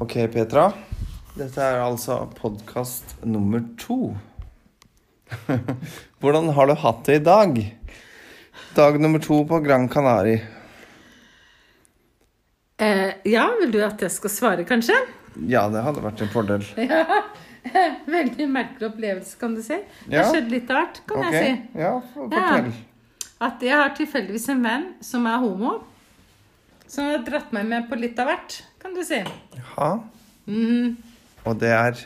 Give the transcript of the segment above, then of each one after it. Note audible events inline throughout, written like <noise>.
Ok, Petra. Dette er altså podkast nummer to. <laughs> Hvordan har du hatt det i dag? Dag nummer to på Gran Canari. Eh, ja, vil du at jeg skal svare, kanskje? Ja, det hadde vært en fordel. <laughs> Ja. <laughs> Veldig merkelig opplevelse, kan du si. Det Ja. har skjedd litt av hvert, kan Ok, jeg si. Ja, for- fortell. At jeg har tilfeldigvis en venn som er homo. Som har dratt meg med på litt av hvert, kan du si. Ja. Mm-hmm. Og det er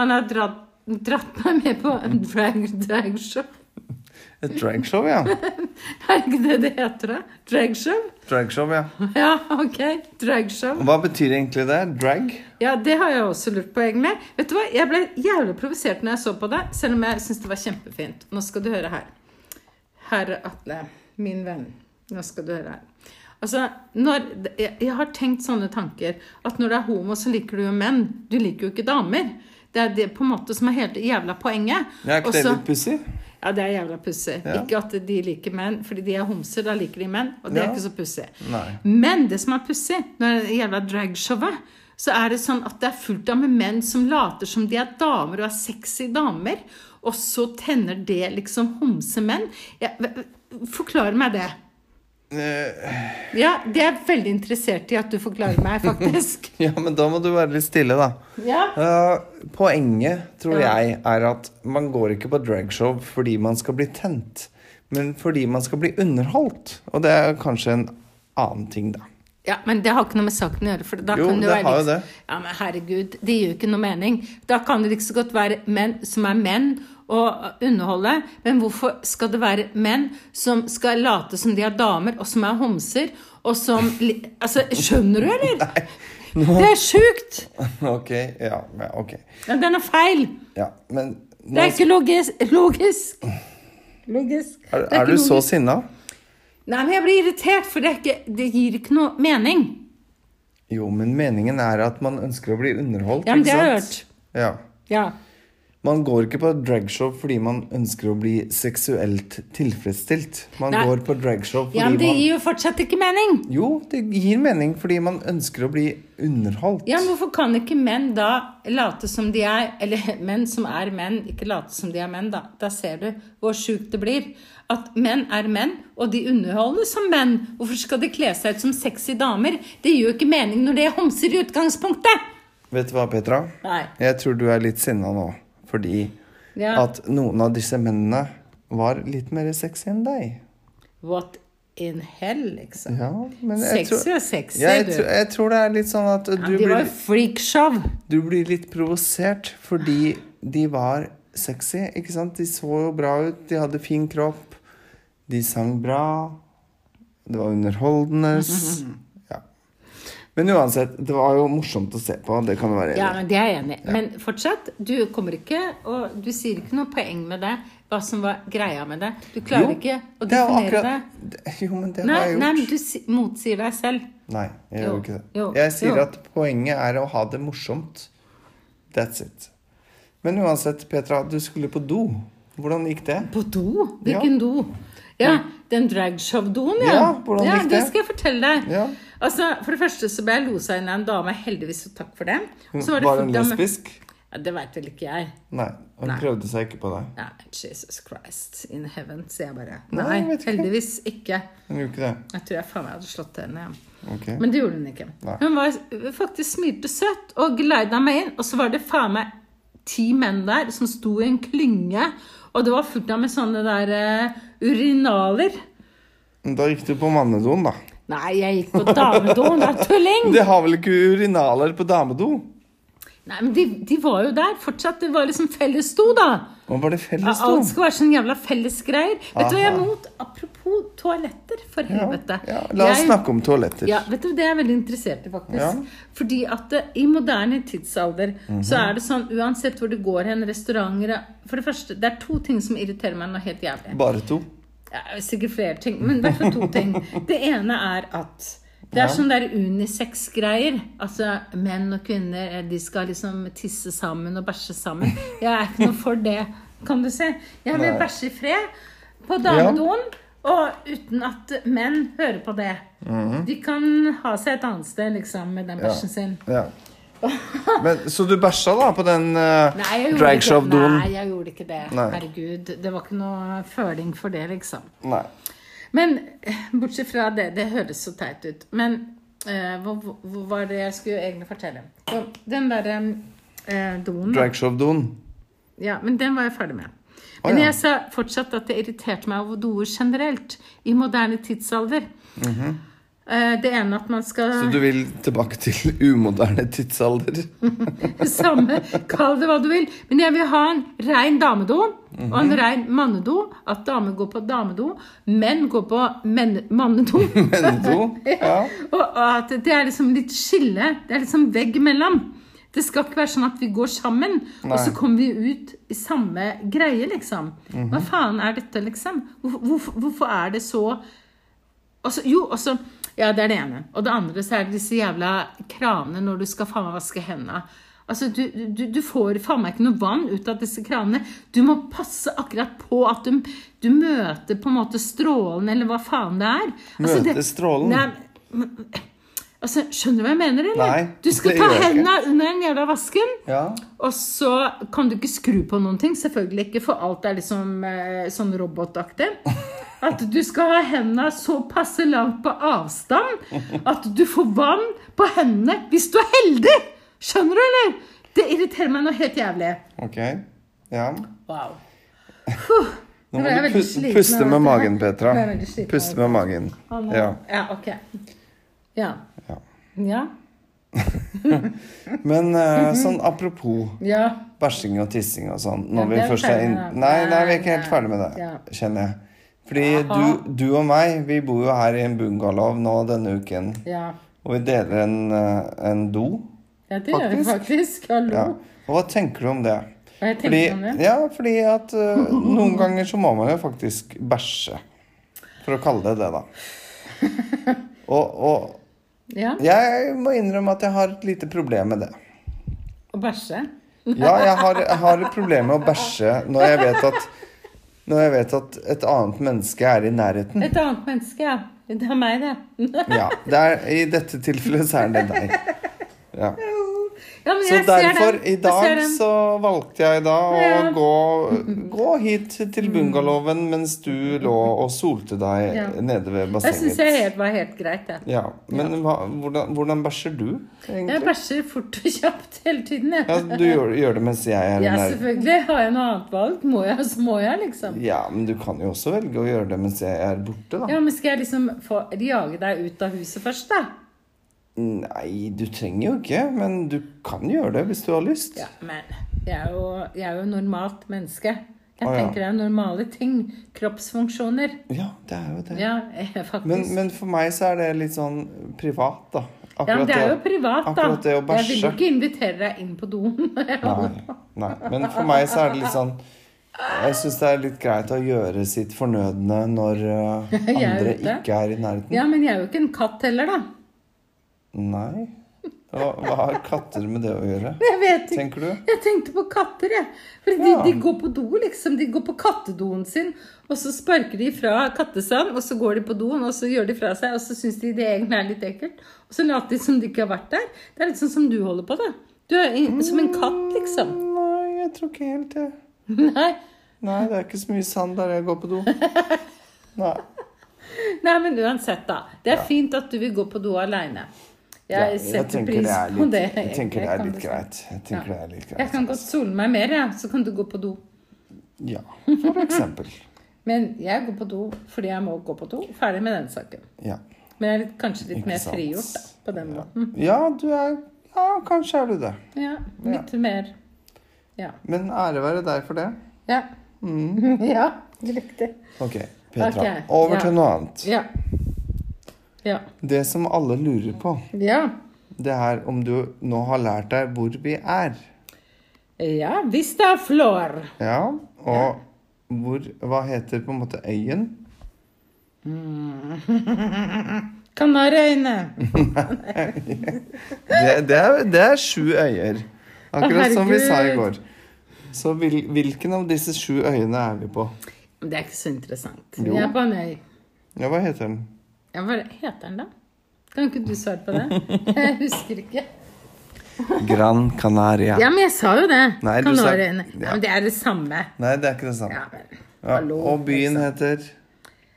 Han har dratt, dratt meg med på en drag, dragshow. et dragshow, ja. Er ikke det det heter, da? Dragshow? Dragshow, ja. Ja, OK. Dragshow. Hva betyr egentlig det? Drag? Ja, det har jeg også lurt på, egentlig. Vet du hva, Jeg ble jævlig provosert når jeg så på det, selv om jeg syns det var kjempefint. Nå skal du høre her. Herre Atle, min venn. Nå skal du høre her. Altså, når, jeg, jeg har tenkt sånne tanker. At når du er homo, så liker du jo menn. Du liker jo ikke damer. Det er det på en måte som er hele jævla poenget. Ja, er ikke det Også- litt pussig? ja, det er jævla pussig. Ja. Ikke at de liker menn, fordi de er homser, da liker de menn. Og det Ja. er ikke så pussig. Nei. Men det som er pussig, når det jævla dragshowet, så er det sånn at det er fullt av med menn som later som de er damer og er sexy damer, og så tenner det liksom homsemenn. Ja, v- v- forklar meg det. Eh, Ja, det er jeg veldig interessert i at du forklarer meg, <laughs> faktisk. Ja, men da må du være litt stille, da. Ja. Eh, poenget, tror Ja. jeg, er at man går ikke på dragshow fordi man skal bli tent, men fordi man skal bli underholdt. Og det er kanskje en annen ting, da. <laughs> Ja, men det har ikke noe med saken å gjøre. For da Jo, kan det, det være har jo liksom- Ja, men herregud, det gir jo ikke noe mening. Da kan det like så godt være menn som er menn og underholde. Men hvorfor skal det være menn som skal late som de er damer, og som er homser, og som li- Altså, skjønner du, <laughs> eller? Det er sjukt! ok, ja, ja, ok. Ja, den er feil. Ja, men Det nå, er ikke logis logisk. Logisk. Det er, er ikke du så logisk. sinna? Nei, men jeg blir irritert, for det, er ikke, det gir ikke noe mening. Jo, men meningen er at man ønsker å bli underholdt, Ja, men det har ikke jeg sant? hørt. Ja. Ja. Man går ikke på dragshow fordi man ønsker å bli seksuelt tilfredsstilt. Man Nei. går på dragshow fordi Ja, men det man gir jo fortsatt ikke mening. Jo, det gir mening fordi man ønsker å bli underholdt. Ja, men Hvorfor kan ikke menn da late som de er Eller <laughs> menn som er menn, ikke late som de er menn, da. Da ser du hvor sjukt det blir. At menn er menn, og de underholder som menn. Hvorfor skal de kle seg ut som sexy damer? Det gir jo ikke mening når det er homser i utgangspunktet! Vet du hva, Petra? Nei. Jeg tror du er litt sinna nå. Fordi Ja. at noen av disse mennene var litt mer sexy enn deg. What in hell, liksom. Ja, men jeg Sexy tror, er sexy, ja, jeg, du. tror, jeg tror det er litt sånn at du, Ja, de var blir, jo freakshow. du blir litt provosert fordi de var sexy, ikke sant? De så jo bra ut, de hadde fin kropp, de sang bra, det var underholdende. Ja. Men uansett, det var jo morsomt å se på, det kan du være Ja, enig i. men Det er jeg enig i. Men fortsatt, du kommer ikke Og du sier ikke noe poeng med det. Hva som var greia med det. Du klarer Jo, ikke å Det er jo definere det. akkurat det- Jo, men det Nei, har jeg nei, gjort. men du si- motsier deg selv. Nei, jeg Jo, gjør ikke det. jo, Jeg sier jo. at poenget er å ha det morsomt. That's it. Men uansett, Petra, du skulle på do. Hvordan gikk det? På do? Hvilken do? Ja, den dragshow-doen, ja. Ja, hvordan gikk det det? skal jeg fortelle deg. Ja. Altså, For det første så ble jeg losa inn av en dame, heldigvis, og takk for det. Og så Var hun fullt av- lesbisk? Ja, Det veit vel ikke jeg. Nei, hun Nei. prøvde seg ikke på deg. Ja, Jesus Christ in heaven, sier jeg bare. Nei, Nei, jeg vet ikke. heldigvis ikke. Hun gjorde ikke det. Jeg tror jeg faen meg hadde slått henne. Ja. Ok. Men det gjorde hun ikke. Nei. Hun var faktisk smilte søtt og glida meg inn, og så var det faen meg ti menn der som sto i en klynge, og det var fullt av med sånne der eh, urinaler. Men Da gikk du på mannedoen, da. Nei, jeg gikk på damedoen, da, tulling! De har vel ikke urinaler på damedo? Nei, men de, de var jo der fortsatt. Det var liksom fellesdo, da. Og var det felles do? Alt skal være sånn jævla fellesgreier. Vet du hva jeg er Aha. imot? Apropos toaletter, for Ja, helvete. ja. La oss Jeg- snakke om toaletter. Ja, vet du, Det er jeg veldig interessert i, faktisk. Ja. Fordi at eh, i moderne tidsalder så er det sånn uansett hvor du går hen, restauranter For det første, det er to ting som irriterer meg noe helt jævlig. Bare to. Ja, sikkert flere ting, men i hvert fall to ting. Det ene er at det er sånne der unisex-greier. Altså menn og kvinner, eh, de skal liksom tisse sammen og bæsje sammen. Jeg er ikke noe for det, kan du si. Jeg vil Nei. bæsje i fred på damedoen, og uten at menn hører på det. De kan ha seg et annet sted, liksom, med den Mhm. Ja. bæsjen sin. ja. Men, så du bæsja da på den eh, Nei, jeg gjorde ikke, dragshow-doen? nei, jeg gjorde ikke det. Nei. Herregud. Det var ikke noe føling for det, liksom. Nei. Men eh, bortsett fra det, det høres så teit ut. Men eh, hva, hva- hva var det jeg skulle egentlig fortelle? Så, den derre eh, doen Dragshow-doen. Ja, men den var jeg ferdig med. Å, Men ja. jeg sa fortsatt at det irriterte meg over doer generelt i moderne tidsalder. Eh, Det ene at man Mhm. Så skal du vil tilbake til <laughs> umoderne tidsalder? <laughs> Samme, kall det hva du vil. Men jeg vil ha en rein damedo og Mhm. en rein mannedo. At damer går på damedo, menn går på menn- <laughs> mannedo. Mennedo? Ja. <laughs> Og at det er liksom litt skille. Det er liksom vegg imellom. Det skal ikke være sånn at vi går sammen, og så Nei. kommer vi ut i samme greie, liksom. Mhm. Hva faen er dette, liksom? Hvorfor, hvorfor, hvorfor er det så Altså, jo, altså Ja, det er det ene. Og det andre så er det disse jævla kranene når du skal faen meg vaske hendene. Altså, du, du, du får faen meg ikke noe vann ut av disse kranene. Du må passe akkurat på at du, du møter på en måte strålen, eller hva faen det er. Møter strålen? Nei, men- altså, skjønner du hva jeg mener, eller? Nei, du skal det ta gjør jeg ikke. hendene under den jævla vasken, ja. og så kan du ikke skru på noen ting. Selvfølgelig ikke, for alt er liksom eh, sånn robotaktig. At du skal ha hendene så passe langt på avstand at du får vann på hendene hvis du er heldig! Skjønner du, eller? Det irriterer meg noe helt jævlig. Ok. Ja. Wow. Nå må du pus puste med magen, Petra. Puste med magen. Ja. Ja, ok. Ja. Ja. Ja. Men eh, Mhm. sånn apropos ja. bæsjing og tissing og sånn Ja, Når vi det er først er ferdig inn... med det. Nei, nei, vi er ikke Nei, helt nei. ferdig med det, Ja. kjenner jeg. Fordi Aha. du, du og meg, vi bor jo her i en bungalow nå denne uken. ja. Og vi deler en, eh, en do. Ja, det gjør jeg faktisk. Hallo. Ja. Og hva tenker du om det? Hva jeg Fordi, tenker om det? ja, fordi at <laughs> eh, noen ganger så må man jo faktisk bæsje. For å kalle det det, da. <laughs> Og, og Ja, jeg må innrømme at jeg har et lite problem med det. Å bæsje? Ja, jeg har, jeg har et problem med å bæsje når jeg vet at når jeg vet at et annet menneske er i nærheten. Et annet menneske, ja. Det er meg, det. <laughs> Ja, det er, I dette tilfellet så er det deg. Ja. Ja, men Så jeg ser derfor, den. i Jeg ser dag den. så valgte jeg da å Ja. Mm. gå, gå hit til bungalowen mens du lå og solte Ja. deg nede ved Jeg syns jeg bassenget. helt, var helt greit, jeg. Ja, Men hva, hvordan, hvordan bæsjer du, Jeg egentlig? bæsjer fort og kjapt hele tiden, Ja, jeg. du gjør, gjør det mens jeg er i Ja, nærheten. selvfølgelig. Har jeg noe annet valg, må jeg, <laughs> så må jeg, liksom. Ja, men du kan jo også velge å gjøre det mens jeg er borte, da. Ja, men skal jeg liksom få jage deg ut av huset først, da? Nei, du trenger jo ikke, men du kan gjøre det hvis du har lyst. Ja, men jeg er jo, jeg er jo normalt menneske. Jeg Å, ja. tenker det er normale ting. Kroppsfunksjoner. Ja, det er jo det. Ja, <laughs> eh, faktisk. Men, men for meg så er det litt sånn privat, da. Akkurat Ja, men det er jo privat, da. akkurat det å Jeg vil jo bæsje. ikke invitere deg inn på doen. <laughs> Nei, nei. Men for meg så er det litt sånn Jeg syns det er litt greit å gjøre sitt fornødne når uh, <laughs> Jeg er andre ute. ikke er i nærheten. Ja, men jeg er jo ikke en katt heller, da. Nei. Hva, hva har katter med det å <laughs> gjøre? Jeg vet ikke. Tenker du? Jeg tenkte på katter, jeg. For de, Ja. de går på do, liksom. De går på kattedoen sin, og så sparker de fra kattesand, og så går de på doen, og så gjør de fra seg, og så syns de det egentlig er litt ekkelt. Og så later de som de ikke har vært der. Det er litt sånn som du holder på, da. Du er i- som en katt, liksom. <laughs> Nei, jeg tror ikke helt det. Nei. Nei, det er ikke så mye sand der jeg går på do. <laughs> Nei. Nei, men uansett, da. Det er fint at du vil gå på do aleine. Ja, Jeg setter tenker pris er på litt- det. Jeg tenker det egentlig, er kan litt du si. greit. Jeg tenker Ja. det er litt Jeg greit. kan godt sole meg mer, jeg. Så kan du gå på do. Ja, for eksempel. Men jeg går på do fordi jeg må gå på do. Ferdig med den saken. Ja. Men jeg er litt, kanskje litt Ikke mer sant. frigjort da, på den måten. ja, du er Ja, kanskje er du det. Ja, litt mer Ja. Men ære være deg for det. Ja, Mm. <laughs> ja riktig. Ok, Petra. Ok, Over ja. til noe annet. Ja. Ja. Det som alle lurer på, Ja. det er om du nå har lært deg hvor vi er. ja vista flor. Ja, og hvor Hva heter på en måte øyen? Kanariøyene. Det, det, er, det er sju øyer. Akkurat som vi sa i går. Så hvil, hvilken av disse sju øyene er vi på? Men Det er ikke så interessant. Jo. Vi er på en øy. Ja, hva heter den? <laughs> Ja, hva heter den, da? Kan ikke du svare på det? Jeg husker ikke. Gran Canaria. Ja, men jeg sa jo det. Nei, du sa- Kanariøyene. ja. Ja. Men det er det samme. Nei, det er ikke det samme. Ja, men Ja, hallo. liksom. og byen heter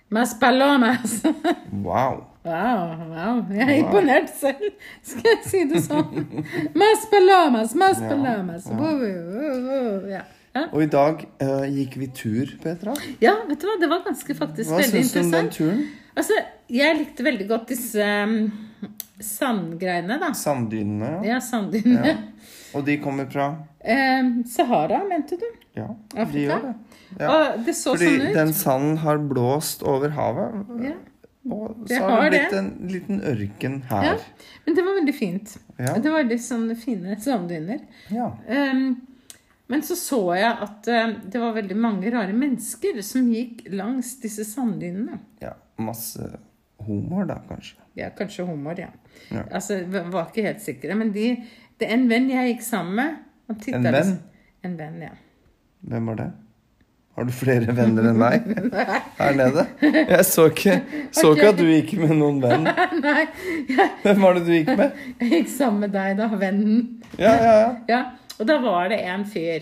Mas Palomas. <laughs> Wow. Wow, wow. Jeg er imponert selv, skal jeg si det sånn. Mas Palomas, Mas Palomas. Wow, wow, wow, Ja. Ja. Og i dag eh, gikk vi tur, Petra. ja, vet du hva, det var ganske faktisk Hva veldig syns du om den interessant. turen? Altså, jeg likte veldig godt disse um, sandgreiene, da. Sanddynene. ja. Ja, sanddynene. Og de kommer fra <laughs> Eh, Sahara, mente du? Ja, de Afrika? gjør det. Ja. Og det så Fordi sånn ut. den sanden har blåst over havet. Ja. Og Det så har det har blitt det. en liten ørken Ja, her. men det var veldig fint. Ja. Det var litt sånne fine sanddyner. Ja. Ehm, men så så jeg at eh, det var veldig mange rare mennesker som gikk langs disse sanddynene. ja. Masse humor, da, kanskje. Ja, kanskje humor, ja. Ja. Altså, v- var ikke helt sikre. Men de, det er en venn jeg gikk sammen med. han tittet En venn? liksom- En venn, ja. <laughs> Hvem var det? Har du flere venner enn <laughs> meg her nede? Jeg så ikke, så ikke at du gikk med noen venn. Nei, jeg, Hvem var det du gikk med? jeg gikk sammen med deg da, vennen. Ja, ja, ja. Ja, og da var det en fyr.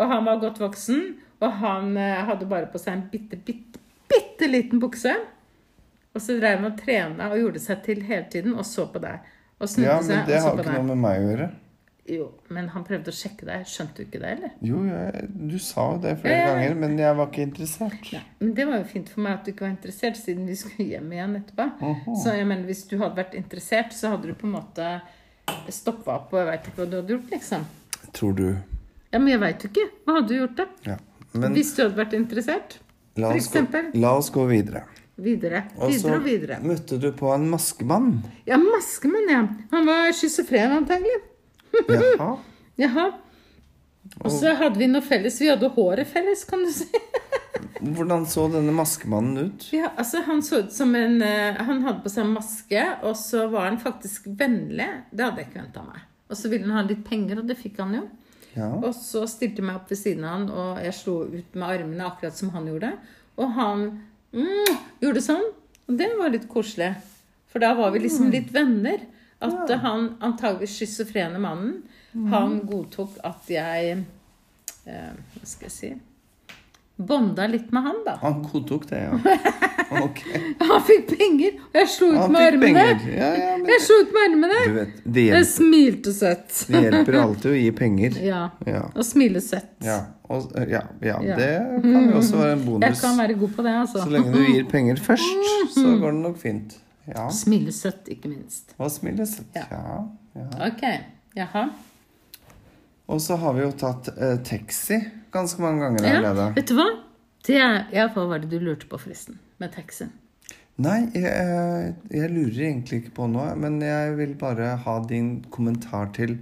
Og han var godt voksen, og han eh, hadde bare på seg en bitte, bitte, bitte liten bukse. Og så drev han og trena og gjorde seg til hele tiden og så på deg. Og snudde Ja, men seg det og så har på ikke deg. noe med meg å gjøre. Jo, men han prøvde å sjekke deg. Skjønte du ikke det, eller? Jo, jeg, du sa jo det flere Ja, ja, ja. ganger, men jeg var ikke interessert. Nei. Men det var jo fint for meg at du ikke var interessert, siden vi skulle hjem igjen etterpå. Aha. Så jeg mener, hvis du hadde vært interessert, så hadde du på en måte stoppa opp, og jeg veit ikke hva du hadde gjort, liksom. Tror du. Ja, men jeg veit jo ikke. Hva hadde du gjort, da? Ja. Men hvis du hadde vært interessert? la for oss, gå, eksempel? la oss gå videre. Videre. Og så Videre og videre. møtte du på en maskemann. Ja, Maskemann, ja. Han var schizofren, antagelig. Jaha. Jaha. Og så hadde vi noe felles. Vi hadde håret felles, kan du si. <laughs> Hvordan så denne maskemannen ut? Ja, altså Han så ut som en eh, Han hadde på seg en maske, og så var han faktisk vennlig. Det hadde jeg ikke venta meg. Og så ville han ha litt penger, og det fikk han jo. Ja. Og så stilte jeg meg opp ved siden av han, og jeg slo ut med armene akkurat som han gjorde. Og han mm, gjorde sånn. Og det var litt koselig. For da var vi liksom Mm. litt venner. At eh, han antageligvis schizofrene mannen, Mm. han godtok at jeg eh, Hva skal jeg si Bonda litt med han, da. Han godtok det, <laughs> ja. Ok. Han fikk penger, og jeg slo ut Han med fikk armene. penger. Ja, ja, men Jeg slo ut med armene. du vet, det Jeg hjelper, smilte søtt. det hjelper alltid å gi penger. Ja. Ja. Og smile søtt. Ja, og, ja, ja, Ja. det kan jo også være en Jeg bonus. kan være god på det, altså. Så lenge du gir penger først, Mm. så går det nok fint. Ja. Smile søtt, ikke minst. Og smile søtt. Ja. ja. Ok. Jaha. Og så har vi jo tatt eh, taxi ganske mange ganger Ja, allerede. vet du hva? Det er, ja, hva var det du lurte på, forresten? Med taxien? Nei, jeg, eh, jeg lurer egentlig ikke på noe, men jeg vil bare ha din kommentar til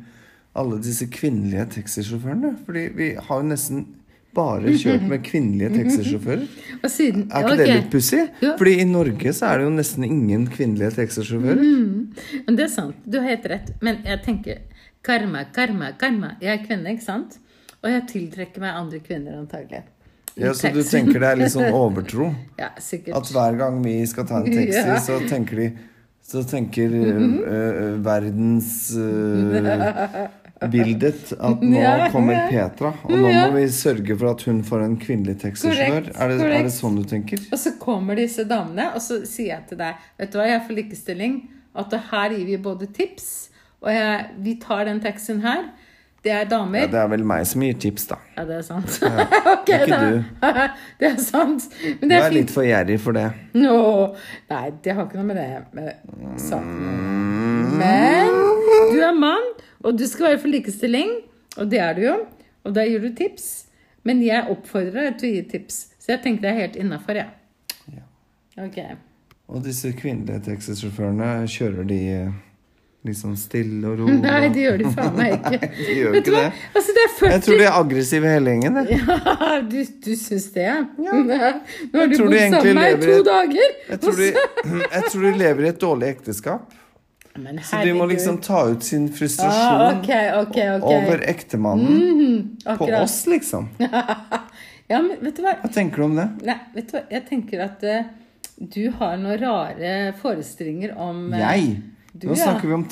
alle disse kvinnelige taxisjåførene. Fordi vi har jo nesten bare kjørt med <laughs> kvinnelige taxisjåfører. Og siden Er ikke det Mhm. ok. litt pussig? Jo. Fordi i Norge så er det jo nesten ingen kvinnelige taxisjåfører. Mm. Men det er sant. Du har helt rett. Men jeg tenker karma, karma, karma. Jeg er kvinne, ikke sant? Og jeg tiltrekker meg andre kvinner, antagelig. I Ja, så du taxien. tenker det er litt sånn overtro? <laughs> Ja, sikkert. At hver gang vi skal <laughs> ta en taxi, Ja. Mhm. så tenker de Så tenker eh, eh, verdens <laughs> eh, bildet at nå Ja. kommer Petra, og nå Ja. må vi sørge for at hun får en kvinnelig taxisjåfør. Korrekt, Er, det- er det korrekt. sånn du tenker? Og så kommer disse damene, og så sier jeg til deg Vet du hva, jeg er for likestilling. At her gir vi både tips, og jeg, vi tar den taxien her. Det Ja, er damer. det er vel meg som gir tips, da. Ja, det er sant. <laughs> Ok, det er ikke da. <laughs> det er sant. Men Du det er er litt fint. for gjerrig for det. Nå. Nei, det har ikke noe med det med saken å Mm. gjøre. Men du er mann, og du skal være for likestilling. Og det er du jo. Og da gir du tips. Men jeg oppfordrer deg til å gi tips. Så jeg tenker det er helt innafor, jeg. Ja. Ja. Og disse kvinnelige taxisjåførene, kjører de eh, litt sånn stille og rolig? <laughs> Nei, det gjør de faen meg ikke. <laughs> De gjør Vet du ikke hva? det. Altså, det er Jeg 40 tror de er aggressive hele gjengen. jeg. <laughs> Ja, du, du syns det? Ja. <laughs> Nå har du tror de bodd sammen egentlig med meg i lever i to et- dager. Jeg <laughs> tror, de, jeg tror de lever i et dårlig ekteskap. Men Så de må herregud. liksom ta ut sin frustrasjon ah, Ok, ok, ok. Mm, over ektemannen på <laughs> Akkurat. oss, liksom. <laughs> Ja, men vet du hva? Hva tenker du om det? Nei, vet du hva? Jeg tenker at eh, du har noen rare forestillinger om eh, Jeg? Du, Nå snakker vi om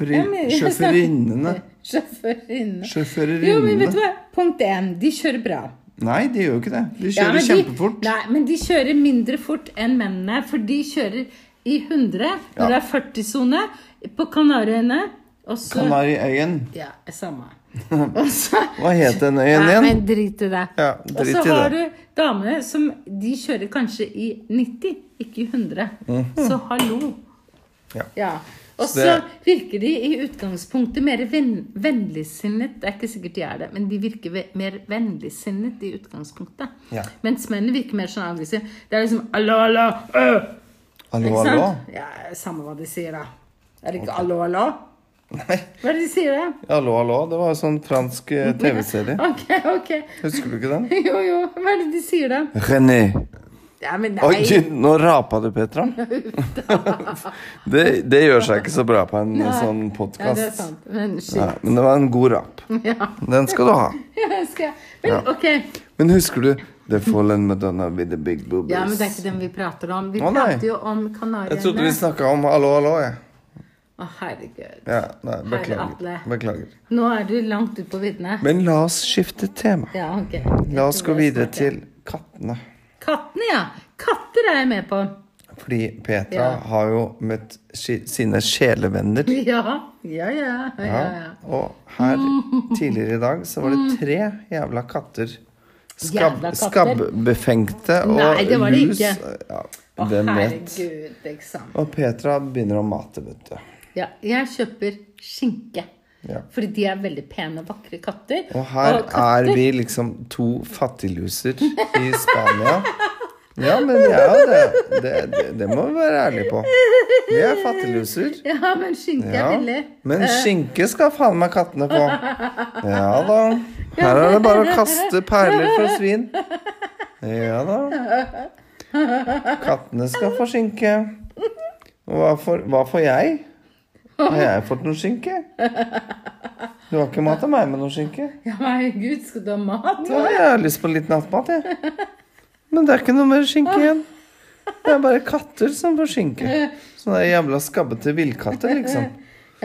<laughs> taxisjåførinnene. Sjåførinne. Jo, men vet du Sjåførerinnene. hva? Punkt én. De kjører bra. Nei, de gjør jo ikke det. De Ja, kjører men kjempefort. De, nei, men de kjører mindre fort enn mennene, for de kjører i 100 når Ja. det er 40-sone på Kanariøyene. Og så Kanariøyen. Ja, samme. <laughs> Og så Hva het den øyen Nei, igjen? men drit i det. Ja, og så drit i har det. du damene som De kjører kanskje i 90, ikke i 100. Så hallo. Mhm. Ja. Og Så så det- virker de i utgangspunktet mer ven, vennligsinnet. Det er ikke sikkert de er det, men de virker ve mer vennligsinnet i utgangspunktet. Ja. Mens mennene virker mer sånn aggressive. Det er liksom Allo, allo! Øh! Hallo, Ikke sant? hallo? Ja, samme hva de sier, da. Er det ikke allo, allo? <laughs> Nei. Hva er det de sier, da? Hallo, hallo. Det var sånn fransk eh, TV-serie. Ok, ok. Husker du ikke den? <laughs> Jo, jo. Hva er det de sier, da? René. Ja, men nei. Oi, gud, <laughs> nå rapa du, <laughs> Petra. <laughs> det, det gjør seg ikke så bra på en Nei. sånn Ja, det er podkast. sant. Men shit. Ja, men det var en god <laughs> rap. Ja. Den skal du ha. Ja, skal jeg. Men ok. Men husker du The Fallen Madonna with the Big Boobies? Ja, men det er ikke den vi prater om. Vi Å, nei. prater jo om Jeg trodde vi Kanariøyene. snakka om hallo, hallo, jeg. Å, herregud. Ja, nei, beklager. Atle. beklager. Nå er du langt ut på viddene. Men la oss skifte tema. Ja, ok. La oss gå videre til kattene. Kattene, ja. Katter er jeg med på. <laughs> Fordi Petra Ja. har jo møtt si- sine sjelevenner. Ja, ja, ja. ja, ja. Og <laughs> her tidligere i dag så var det tre jævla katter. Skabb, Jævla katter. Skabbefengte og Nei, det var det lus. ikke. Ja, Å, hvem vet? herregud, ikke sant. Og Petra begynner å mate, vet du. Ja, jeg kjøper skinke. Ja. Fordi de er veldig pene og vakre katter. Og her katter- er vi liksom to fattigluser i Spania. Ja, men det er jo det. Det, det, det må vi være ærlige på. Vi er fattigluser. <laughs> Ja, men skinke Ja. er billig. Men skinke skal faen meg kattene få. Ja da. Her er det bare å kaste perler for svin. Ja da. Kattene skal få skinke. Og hva får, hva får jeg? Har jeg fått noe skinke? Du har ikke mata meg med noe skinke? Ja, herregud, skal du ha mat? Ja, jeg har lyst på litt nattmat, jeg. Men det er ikke noe mer skinke igjen. Det er bare katter som får skinke. Sånne jævla skabbete villkatter, liksom.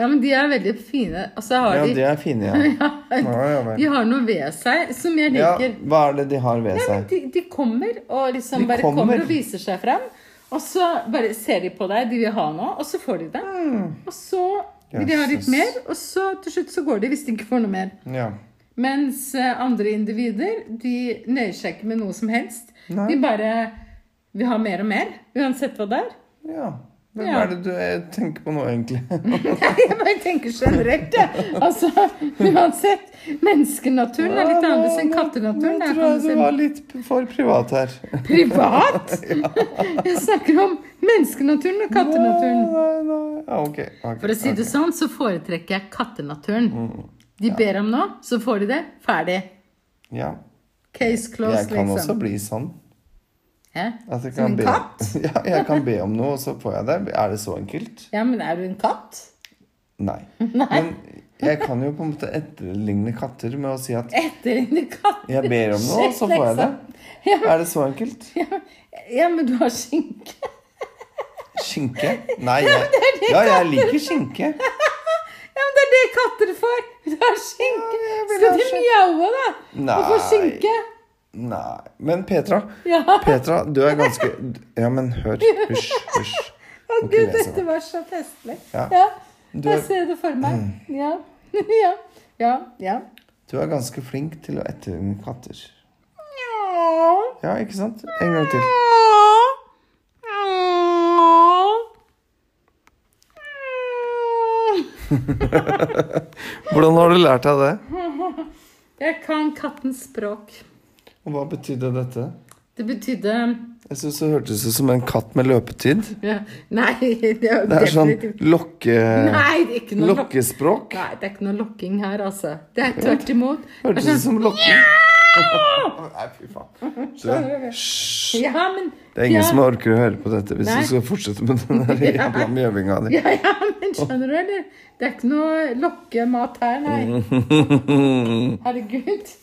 Ja, men de er veldig fine. Og så har Ja, de de er fine, ja. <laughs> ja, ja vel. De har noe ved seg som jeg ja liker. hva er det de har ved seg? De, de kommer og liksom De bare kommer. kommer. og viser seg frem. Og så bare ser de på deg, de vil ha noe, og så får de det. Og så vil de ha litt Mm. Jesus. mer, og så til slutt så går de hvis de ikke får noe mer. Ja. Mens eh, andre individer, de nøyer seg ikke med noe som helst. Nei. De bare vil ha mer og mer, uansett hva det er. ja. Hvem Ja. er det du eh, tenker på nå, egentlig? Nei, jeg bare tenker generelt, jeg. Altså, uansett. Menneskenaturen er litt annerledes enn kattenaturen. Nå Det er sånn tror jeg du annerledes var litt for privat her. enn <laughs> privat! Jeg snakker om menneskenaturen og kattenaturen. Nei, nei, nei. Ja, ok. ok, For å si ok. Mm. det sånn, så foretrekker jeg kattenaturen. De ber om noe, så får de det. Ferdig. Ja. Case Jeg closed, kan også liksom. bli sånn. Hæ? At Altså, jeg Som kan en be, katt? <laughs> ja, jeg kan be om noe, og så får jeg det. Er det så enkelt? Ja, men er du en katt? <laughs> Nei. Men jeg kan jo på en måte etterligne katter med å si at Etter en katt? jeg ber om noe, og så får jeg det. Ja, Er det så enkelt? ja, ja, men du har skinke. Skinke? Nei, jeg, ja, jeg liker skinke. Ja, men det er det katter får! Du har skinke! Ja, jeg vil Skal ha de skinke. mjaue, da? Du får Nei. skinke. Nei. Men Petra, Ja. Petra, du er ganske Ja, men hør. Hysj, hysj. Å Må ikke gud, lese dette var så festlig. Ja. Ja. Du Jeg er- ser det for meg. Ja. <laughs> Ja. Ja. Ja. Du er ganske flink til å etterligne katter. Nja. Ja, ikke sant? En gang til. Hvordan har du lært deg det? Jeg kan kattens språk. Og hva betydde dette? Det betydde Jeg syns det hørtes ut som en katt med løpetid. ja, Nei, <laughs> det er Det er sånn definitivt lokke... Nei, det er ikke noe lokk. Lokkespråk. Nei, det er ikke noe lokking her, altså. Det er tvert imot. Det er Hørtes ut sånn, som lokking. <laughs> Nei, fy faen. Skjønner du? Hysj. ja, men Det er ingen ja, som orker å høre på dette hvis Nei. du skal fortsette med den <laughs> der jævla mjøvinga di. ja, ja, men skjønner du, eller? Det er ikke noe lokkemat her, <laughs> nei. Herregud.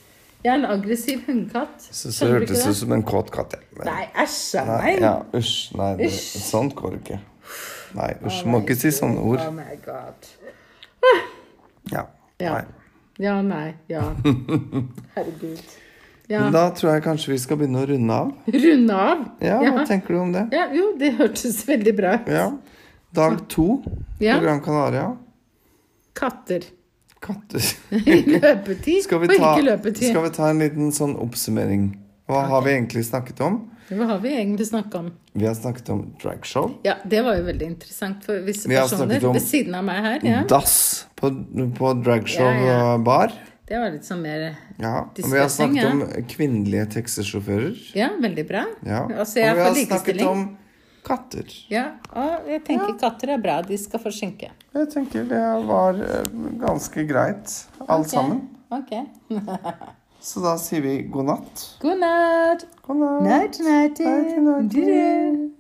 Jeg er en aggressiv hundekatt. Så, så Skjønner du hørtes ikke det ut som en kåt katt. ja. Men- Nei, æsj a Nei, meg. ja, Usj. Nei, det, Usch. sånt går ikke. Nei, usj. Må ikke si sånne ord. Oh my god. Ja. Ja. Nei. Ja, nei, ja. <laughs> Herregud. Ja. Men da tror jeg kanskje vi skal begynne å runde av. Runde av. Ja, ja. hva tenker du om det? Ja, jo, det hørtes veldig bra ut. Ja. Dag to Ja. på Gran Canaria. Katter. Katter. <laughs> I løpetid Skal vi, og ta, ikke løpetid. skal vi ta en liten sånn oppsummering? Hva har vi egentlig snakket om? Hva har vi egentlig snakka om? Vi har snakket om dragshow. Ja, det var jo veldig interessant for visse Vi har personer snakket om- Mm. ved siden av meg her. Ja. Dass på, på Ja, dragshow-bar. Det var litt sånn mer Ja. Og vi har snakket Distressing, ja. om kvinnelige taxisjåfører. Ja, veldig bra. Ja. Altså, jeg og er vi for har snakket likestilling. om katter. Ja, og jeg tenker katter er bra. De skal få skjenke. Jeg tenker det var eh, ganske greit, alt Ok, sammen. Ok. Så da sier vi god natt. God natt. God natt. Night, night. Night, night. Du, du.